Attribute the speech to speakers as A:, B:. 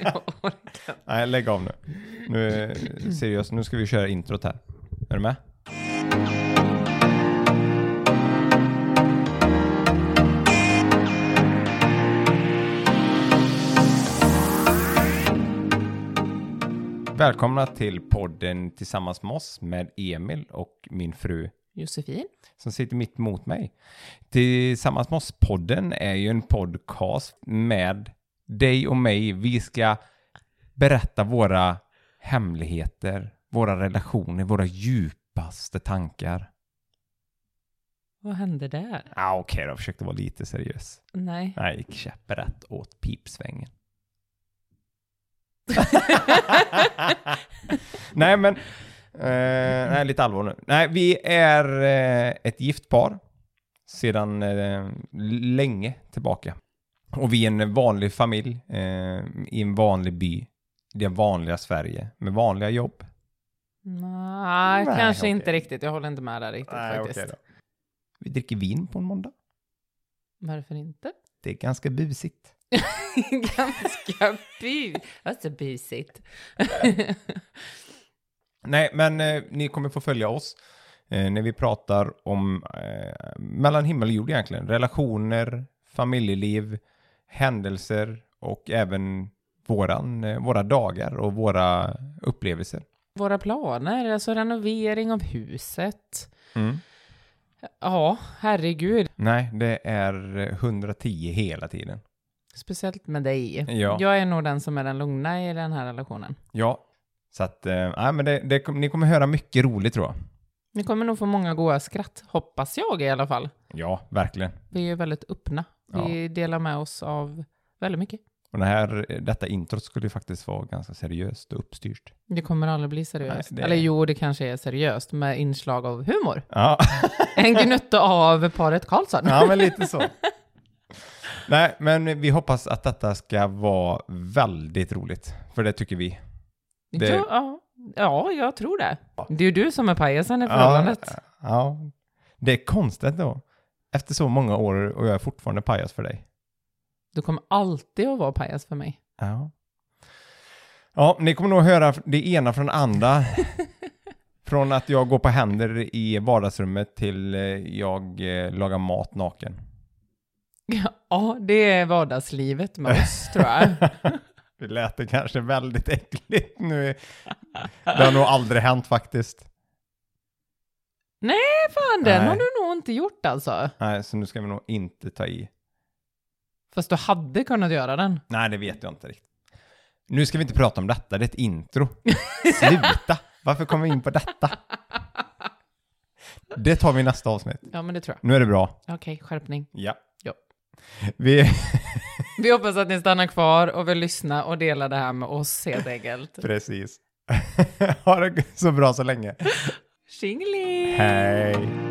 A: Jag orkar.
B: Nej, lägg av nu. Nu, är- seriöst, nu ska vi köra introt här. Är du med? Välkomna till podden Tillsammans med oss med Emil och min fru
A: Josefin.
B: som sitter mitt emot mig. Tillsammans med oss-podden är ju en podcast med dig och mig. Vi ska berätta våra hemligheter, våra relationer, våra djupaste tankar.
A: Vad hände där?
B: Ah, Okej då, jag försökte vara lite seriös.
A: Nej.
B: Jag gick käpprätt åt pipsvängen. nej men, eh, nej, lite allvar nu. Nej, vi är eh, ett gift par sedan eh, länge tillbaka. Och vi är en vanlig familj eh, i en vanlig by. i Det vanliga Sverige med vanliga jobb. Nej,
A: Nej, kanske
B: okej.
A: inte riktigt. Jag håller inte med där riktigt faktiskt.
B: Vi dricker vin på en måndag.
A: Varför inte?
B: Det är ganska busigt.
A: Ganska bu... Alltså busigt.
B: Nej, men eh, ni kommer få följa oss eh, när vi pratar om eh, mellan himmel och jord egentligen. Relationer, familjeliv, händelser och även våran, eh, våra dagar och våra upplevelser.
A: Våra planer, alltså renovering av huset.
B: Mm.
A: Ja, herregud.
B: Nej, det är eh, 110 hela tiden.
A: Speciellt med dig.
B: Ja.
A: Jag är nog den som är den lugna i den här relationen.
B: Ja, så att eh, nej, men det, det, kom- ni kommer höra mycket roligt tror jag.
A: Ni kommer nog få många goa skratt, hoppas jag i alla fall.
B: Ja, verkligen.
A: Vi är ju väldigt öppna. Vi delar med oss av väldigt mycket.
B: Och det här, eh, detta introt skulle ju faktiskt vara ganska seriöst och uppstyrt.
A: Det kommer aldrig bli seriöst.
B: Nej, det-
A: Eller jo, det kanske är seriöst med inslag av humor.
B: Ja.
A: En gnutta av paret Karlsson.
B: Ja, men lite så. Nej, men vi hoppas att detta ska vara väldigt roligt. För det tycker vi. det-
A: Jo, ja, ja, jag tror det. Det är ju du som är pajasen i förhållandet.
B: ja. Det är konstigt då. Efter så många år och jag är fortfarande pajas för dig.
A: Du kommer alltid att vara pajas för mig.
B: Ja. Ja, ni kommer nog höra det ena från det andra. från att jag går på händer i vardagsrummet till eh, jag eh, lagar mat naken.
A: Ja, det är vardagslivet med oss, tror jag.
B: Det lät det kanske väldigt äckligt nu. Det har nog aldrig hänt faktiskt.
A: Nej, fan, den
B: Nej.
A: har du nog inte gjort alltså.
B: Nej, så nu ska vi nog inte ta i.
A: Fast du hade kunnat göra den.
B: Nej, det vet jag inte riktigt. Nu ska vi inte prata om detta, det är ett intro. Sluta! Varför kom vi in på detta? Det tar vi i nästa avsnitt.
A: Ja, men det tror
B: Nu är det bra.
A: jag. Okej, skärpning.
B: Ja.
A: Ja.
B: Vi,
A: Vi hoppas att ni stannar kvar och vill lyssna och dela det här med oss helt enkelt.
B: precis. ha det så bra så länge.
A: Tjingeling!
B: Hej!